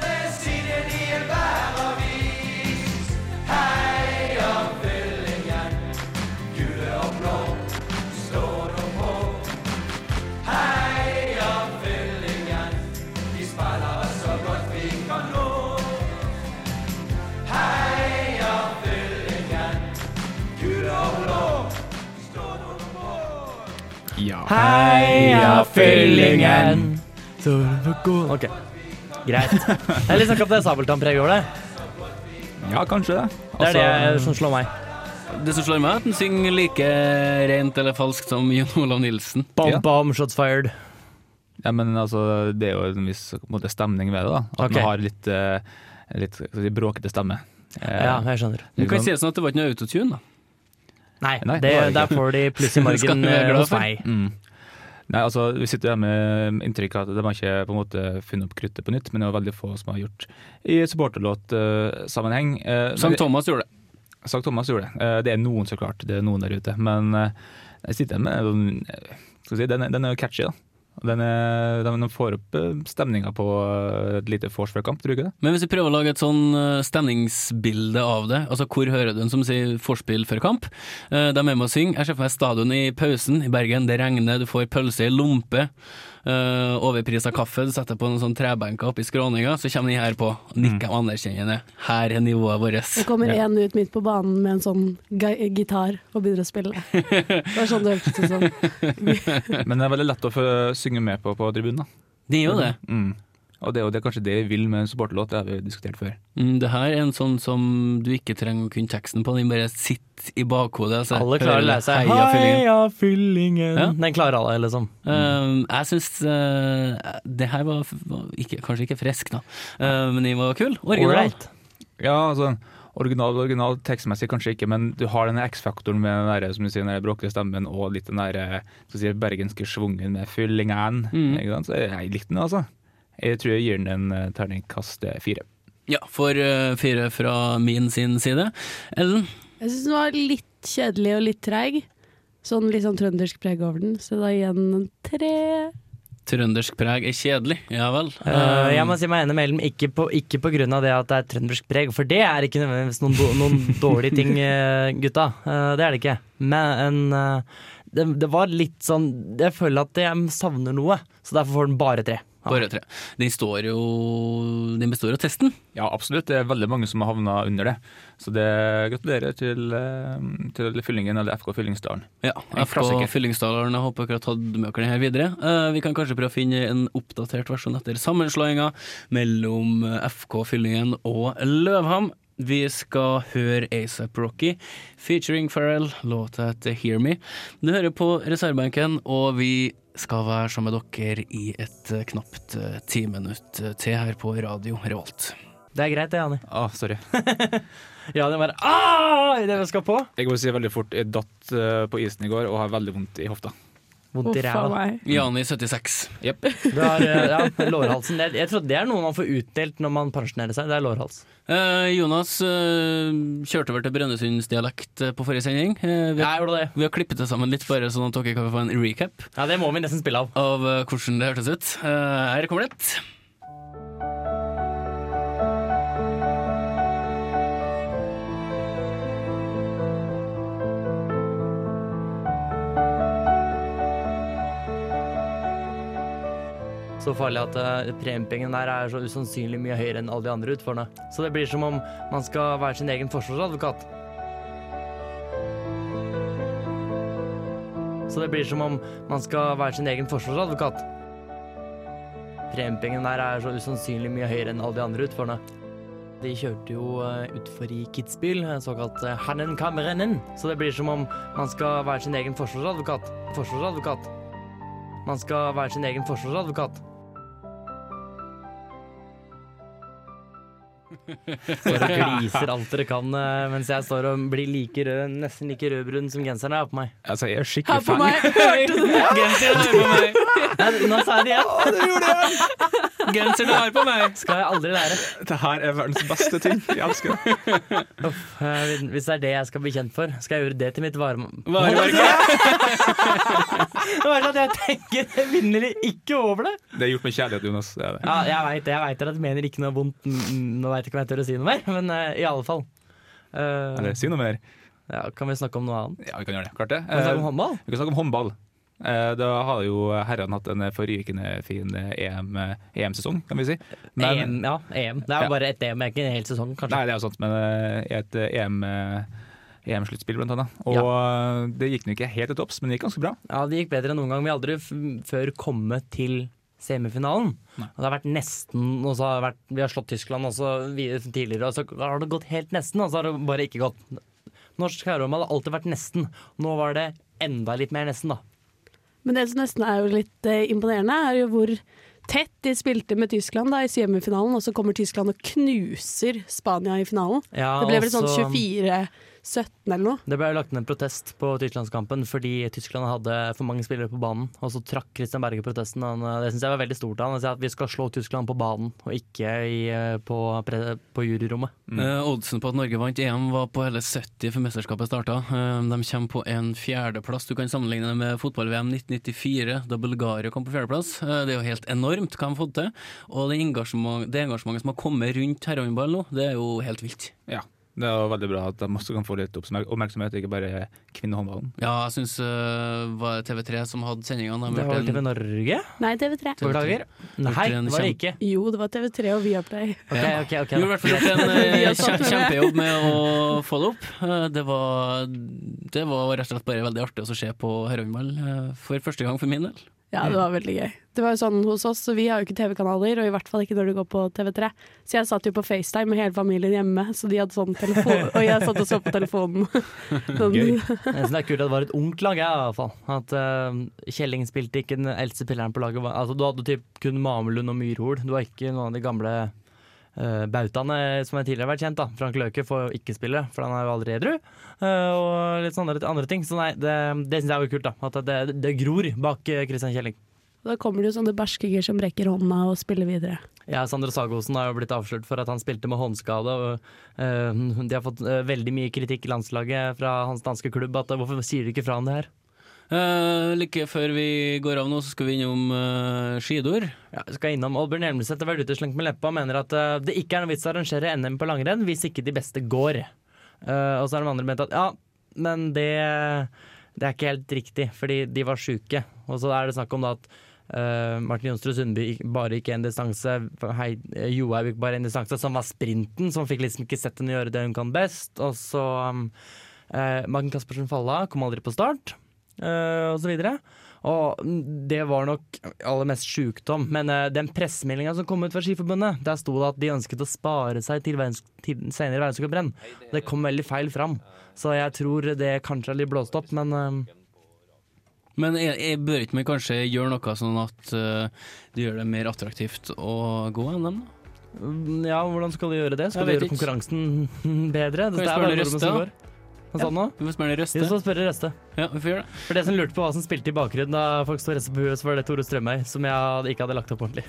S10: siden i enhver avis. Heia Fyllingen, gule og blå, stå nå på. Heia Fyllingen, vi spiller så godt vi kan nå. Heia fyllingen, gula og blå, stå nå på mål.
S7: Heia fyllingen! Ok, greit. Det er litt snakk om det sabeltannpreget over det.
S6: Ja, kanskje det.
S7: Det er
S6: Altså-
S7: det som slår meg.
S5: Det som slår meg, er at han synger like rent eller falskt som Jon Olav Nilsen.
S7: Bom,
S6: Ja.
S7: bom, shots fired.
S6: Ja, men altså, det er jo en viss på en måte, stemning ved det. da At
S7: Ok.
S6: man har litt, eh, litt skal vi si, bråkete stemme. Eh,
S7: Ja, jeg skjønner.
S5: Du kan si det sånn at det var ikke noe autotune, da.
S7: Nei,
S6: Nei,
S7: det,
S6: det var det
S7: der får de pluss i
S5: Skal
S7: margen
S5: vi være
S7: eh,
S5: glad
S7: hos
S5: for?
S7: meg.
S6: Mm. Nei, altså, Vi sitter her med inntrykk av at de har ikke på en måte funnet opp kruttet på nytt, men det er jo veldig få som har gjort i supporterlåtsammenheng. Uh,
S5: Sankt Thomas gjorde det.
S6: Sankt Thomas gjorde det. Eh, Det er noen, så klart. Det er noen der ute. Men eh, jeg sitter med en sånn, eh, skal vi si, den, er- den er jo catchy, da. Og Den, er, den den får opp stemninga på eh, et lite vors før kamp, tror du ikke det?
S5: Men hvis vi prøver å lage et sånn eh, stemningsbilde av det, altså hvor hører du en som sier forspill før kamp? Eh, De er med og synger. Jeg ser for meg stadion i pausen i Bergen, det regner, du får pølse i lompe. eh, Overpris av kaffe, du setter på en sånn trebenke oppe i skråninga, så kommer de her på. Nikker de anerkjennende. Her er nivået
S4: Det
S5: vårt.
S4: kommer én ut midt på banen med en sånn ga- gitar og begynner å spille. Det var sånn det hørtes ut som.
S6: Men det er veldig lett å få synge med på på tribunen. da.
S5: Det er jo det.
S6: Mm. Og det er jo det, er kanskje det vi vil med en supporterlåt, det har vi jo diskutert før.
S5: Mm, Det her er en sånn som du ikke trenger å kunne teksten på, den bare sitter i bakhodet. altså.
S7: Alle klarer å
S5: Hører
S7: lese
S5: heia, fyllingen.
S7: Heia fyllingen.
S5: Ja.
S7: Den klarer alle, liksom.
S5: Um, jeg syns uh, det her var, var ikke, kanskje ikke frisk, da, uh, men den var kul. Original.
S7: Ålreit.
S6: Ja, altså, original, original tekstmessig kanskje ikke, men du har denne X-faktoren med den der, som du sier, den der bråkete stemmen og eh, Mm. litt den der skal vi si, bergenske schwungen med fyllingen. Ikke sant? Så jeg likte den, altså. Jeg tror jeg gir den en eh, terningkast eh, fire.
S5: Ja, for eh, fire fra min sin side. Ellen?
S4: Jeg syns den var litt kjedelig og litt treig. Sånn litt sånn trøndersk preg over den, så da igjen en tre.
S5: Trøndersk preg er kjedelig, ja vel.
S7: Eh, jeg må si meg enig med Ellen, ikke på, ikke på grunn av det at det er trøndersk preg, for det er ikke nødvendigvis noen, do- noen dårlige ting, eh, gutta. Eh, det er det ikke. Men eh, det, det var litt sånn Jeg føler at jeg savner noe, så derfor får den bare tre.
S5: Eh, bare tre. Den står jo Den består av testen.
S6: Ja, absolutt. Det er veldig mange som har havna under det. Så det gratulerer til, eh, til Fyllingen eller FK Fyllingsdalen.
S5: Ja,
S6: En
S5: FK
S6: klassiker.
S5: Fyllingsdalerne håper dere har tatt med dere den her videre. Eh, vi kan kanskje prøve å finne en oppdatert versjon etter sammenslåinga mellom eh, FK Fyllingen og Løvham. Vi skal høre ASAP Rocky featuring Pharrell, låta heter Hear Me. Du hører på reservebenken, og vi skal være sammen med dere i et eh, knapt eh, ti minutt eh, til her på Radio Revolt.
S7: Det er greit, det, Jani.
S6: Ah, sorry.
S7: Jani bare «Ah!» i det vi skal på.
S6: Jeg må si veldig fort, jeg datt eh, på isen i går og har veldig vondt i hofta.
S7: Vondt i
S4: Uff a
S7: ræva.
S4: meg.
S6: Mm.
S5: Jani 76.
S6: Jep.
S7: Du har, eh, Ja, lårhalsen. Det, er- jeg tror det er noe man får utdelt når man pensjonerer seg. Det er lårhals.
S5: Eh, Jonas eh, kjørte over til Brønnøysundsdialekt eh, på forrige sending. Eh, vi, har,
S7: Jeg gjorde det.
S5: vi har klippet det sammen litt, bare sånn at dere kan få en recap
S7: Ja, det må vi nesten spille av.
S5: av eh, hvordan det hørtes ut. Eh, her kommer det.
S7: Så farlig at eh, premiepengene der er så usannsynlig mye høyere enn alle de andre utførene. Så det blir som om man skal være sin egen forsvarsadvokat. Så det blir som om man skal være sin egen forsvarsadvokat. Premiepengene der er så usannsynlig mye høyere enn alle de andre utførene. De kjørte jo eh, utfor i Kitzbühel, en såkalt eh, Hannenkammrennen. Så det blir som om man skal være sin egen forsvarsadvokat. Forsvarsadvokat. Man skal være sin egen forsvarsadvokat. Står og gliser alt dere kan eh, mens jeg står og blir like rød, nesten like rødbrun som genseren jeg har på meg.
S6: Altså, jeg er skikkelig
S4: Her på
S6: fan.
S4: meg, hørte du det?
S5: Genseren er på meg!
S7: Nei, nå sa jeg det igjen!
S5: Genseren er på meg!
S7: Skal jeg aldri lære.
S6: Det her er verdens beste ting. Jeg elsker det.
S7: Eh, Hvis det er det jeg skal bli kjent for, skal jeg gjøre det til mitt varme...
S5: Varemerke.
S7: Det var sånn at jeg tenker evinnelig ikke over det.
S6: Det er gjort med kjærlighet, Jonas. Det er det.
S7: Ja, jeg veit det. Jeg vet at jeg mener ikke noe vondt. Mm, mm, Nå veit jeg ikke om jeg tør å si noe mer, men eh, i alle fall. Eh,
S6: Eller si noe mer.
S7: ja, kan vi snakke om noe annet?
S6: Ja, vi kan gjøre det. Klart det.
S7: Kan vi snakke om håndball?
S6: Vi kan snakke om håndball. Eh, Da har jo herrene hatt en forrykende fin eh, EM EM-sesong, kan vi si. Men-
S7: EM, E ja, EM. Det er
S6: Ja.
S7: jo bare ett EM, ikke en hel sesong, kanskje.
S6: Nei, det er jo sant, men eh, i et eh, EM eh, EM-sluttspill, blant annet. Og eh, det gikk nå ikke helt til topps, men det gikk ganske bra.
S7: Ja, Det gikk bedre enn noen gang. Vi har aldri f før kommet til semifinalen. Og det har vært nesten, og så har det vært, vi har slått Tyskland også vi- tidligere, og så har det gått helt nesten, og så har det bare ikke gått. Norsk herrehåndball har alltid vært nesten. Nå var det enda litt mer nesten, da.
S4: Men det som nesten er jo litt eh, imponerende, er jo hvor tett de spilte med Tyskland da, i semifinalen, og så kommer Tyskland og knuser Spania i finalen.
S7: Ja,
S4: det ble vel
S7: og
S4: sånn
S7: så-
S4: 24-17 eller noe.
S7: Det ble lagt ned en protest på Tysklandskampen fordi Tyskland hadde for mange spillere på banen. Og så trakk Christian Berge protesten. Han, eh, det syns jeg var veldig stort av han, å si At vi skal slå Tyskland på banen, og ikke i, eh, på, pre, på juryrommet.
S5: Eh, oddsen på at Norge vant EM var på hele 70 før mesterskapet starta. de kommer på en fjerdeplass. Du kan sammenligne det med fotball-VM 1994, da Bulgaria kom på fjerdeplass. Eh, det er jo helt enormt hva de har fått til. Og det, engasjement, det engasjementet som har kommet rundt herrehåndball nå, det er jo helt vilt.
S6: Ja. Det er jo veldig bra at de også kan få litt oppmerk- oppmerksomhet, ikke bare kvinnehåndballen.
S5: Ja, jeg syns eh, var det TV3 som hadde sendingene.
S7: Det
S5: De
S7: var
S5: har
S7: vel
S5: gjort
S7: TV
S5: en,
S7: Norge?
S4: Nei, TV3.
S7: Beklager. Nei,
S5: en
S7: det var det
S5: kjempe-
S7: ikke.
S4: Jo, det var TV3 og Viaplay.
S7: Ok, ok,
S5: gjorde
S7: ok.
S5: i
S7: da.
S5: hvert fall gjort en eh,
S4: Vi har
S5: kjem-
S4: tatt med det.
S5: kjempejobb med å få det opp. Eh, det, var, det var rett og slett bare veldig artig å se på herrehåndball eh, for første gang for min del.
S4: Ja, det var veldig gøy. Det var jo sånn hos oss, så vi har jo ikke TV-kanaler, og i hvert fall ikke når du går på TV3. Så jeg satt jo på FaceTime med hele familien hjemme, så de hadde sånn telefon, og jeg satt og så på telefonen. Sånn.
S7: Jeg synes det er kult at det var et ungt lag, jeg, i hvert fall. At eh, Kjelling spilte ikke den eldste spilleren på laget. Altså, du hadde typ kun Mamelund og Myrhol. Du har ikke noen av de gamle eh, bautaene som jeg tidligere har vært kjent. da Frank Løke får jo ikke spille, for han er jo aldri edru. Eh, og litt sånne andre- andre ting. Så nei, det, det syns jeg var kult. da At det, det gror bak eh, Christian Kjelling.
S4: Da kommer det jo sånne barskinger som brekker hånda og spiller videre.
S7: Ja, Sander Sagosen har jo blitt avslørt for at han spilte med håndskade. Og, eh, de har fått eh, veldig mye kritikk i landslaget fra hans danske klubb. At, eh, hvorfor sier du ikke fra om det her?
S5: Eh, like før vi går av nå, så skal vi innom uh, skidur.
S7: Ja, jeg skal innom Oddbjørn Hjelmeset har vært ute slengt med leppa og mener at eh, det ikke er noe vits å arrangere NM på langrenn hvis ikke de beste går. Eh, og så har de andre ment at ja, men det, det er ikke helt riktig, fordi de var sjuke. Og så er det snakk om da at eh, Martin Jonsrud Sundby gikk- bare gikk en distanse, Hei- eh, Johaug gikk bare en distanse, som var sprinten, som fikk liksom ikke sett henne gjøre det hun kan best. Og så um, eh, Magn Caspersen Falla kom aldri på start, eh, og så videre. Og det var nok aller mest sjukdom, men eh, den pressemeldinga som kom ut fra Skiforbundet, der sto det at de ønsket å spare seg til, verdens, til senere verdenscuprenn. Det kom veldig feil fram, så jeg tror det kanskje er litt blåst opp, men eh,
S5: Men jeg, jeg bør ikke vi kanskje gjøre noe sånn at eh, det gjør det mer attraktivt å gå enn dem? da?
S7: ja, hvordan skal de gjøre det? Skal
S5: Jeg vet
S7: de gjøre
S5: ikke.
S7: konkurransen bedre?
S5: Kan vi
S7: Det er
S5: spørre
S7: bare nordmenn som
S5: Røste?
S7: går. Hva sa du nå?
S5: Vi får spørre
S7: Vi
S5: Røste.
S7: skal spørre Røste.
S5: Ja, vi får gjøre det.
S7: For det som lurte på hva som spilte i bakgrunnen da folk sto og reiste på huet, så var det Tore Strømøy, som jeg ikke hadde lagt opp ordentlig.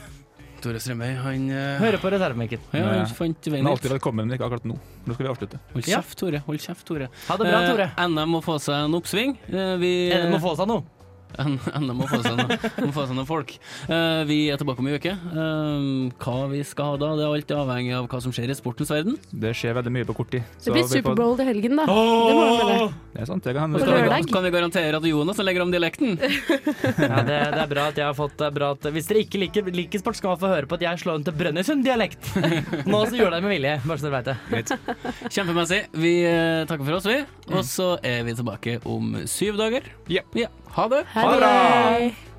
S5: Tore Strømøy, han eh,
S7: Hører på reservebenken.
S5: Ja, han fant
S6: Den
S5: veien
S6: er
S5: dit.
S6: alltid velkommen, men ikke akkurat nå. Nå skal vi avslutte.
S5: Hold
S7: Ja.
S5: kjeft, Tore. Hold kjeft, Tore.
S7: Ha det bra, Tore.
S5: Eh, NM må få seg en oppsving. Eh, vi
S7: Eh, Må få seg noe.
S5: Enn enn de må få seg noe- må få seg noen folk. Eh, vi er tilbake om ei uke. Eh, hva vi skal ha da, det er alt avhengig av hva som skjer i sportens verden.
S6: Det skjer veldig mye på kort tid.
S4: Det blir
S6: vi får-
S4: Superbowl til helgen, da. Det må jo være.
S6: Det er sant, det kan
S4: På
S5: Kan
S6: hende.
S4: lørdag.
S5: vi, kan vi garantere at Jonas legger om dialekten?
S7: Ja, det, det er bra at jeg har fått det er bra at, Hvis dere ikke liker, liker sport, skal man få høre på at jeg slår inn til Brønnøysund-dialekt. Nå så gjorde jeg det med vilje, bare så dere vet det.
S5: Kjempemessig. Vi eh, takker for oss, vi. Og så er vi tilbake om syv dager.
S6: Ja.
S5: Ja. Ha det.
S4: Hei.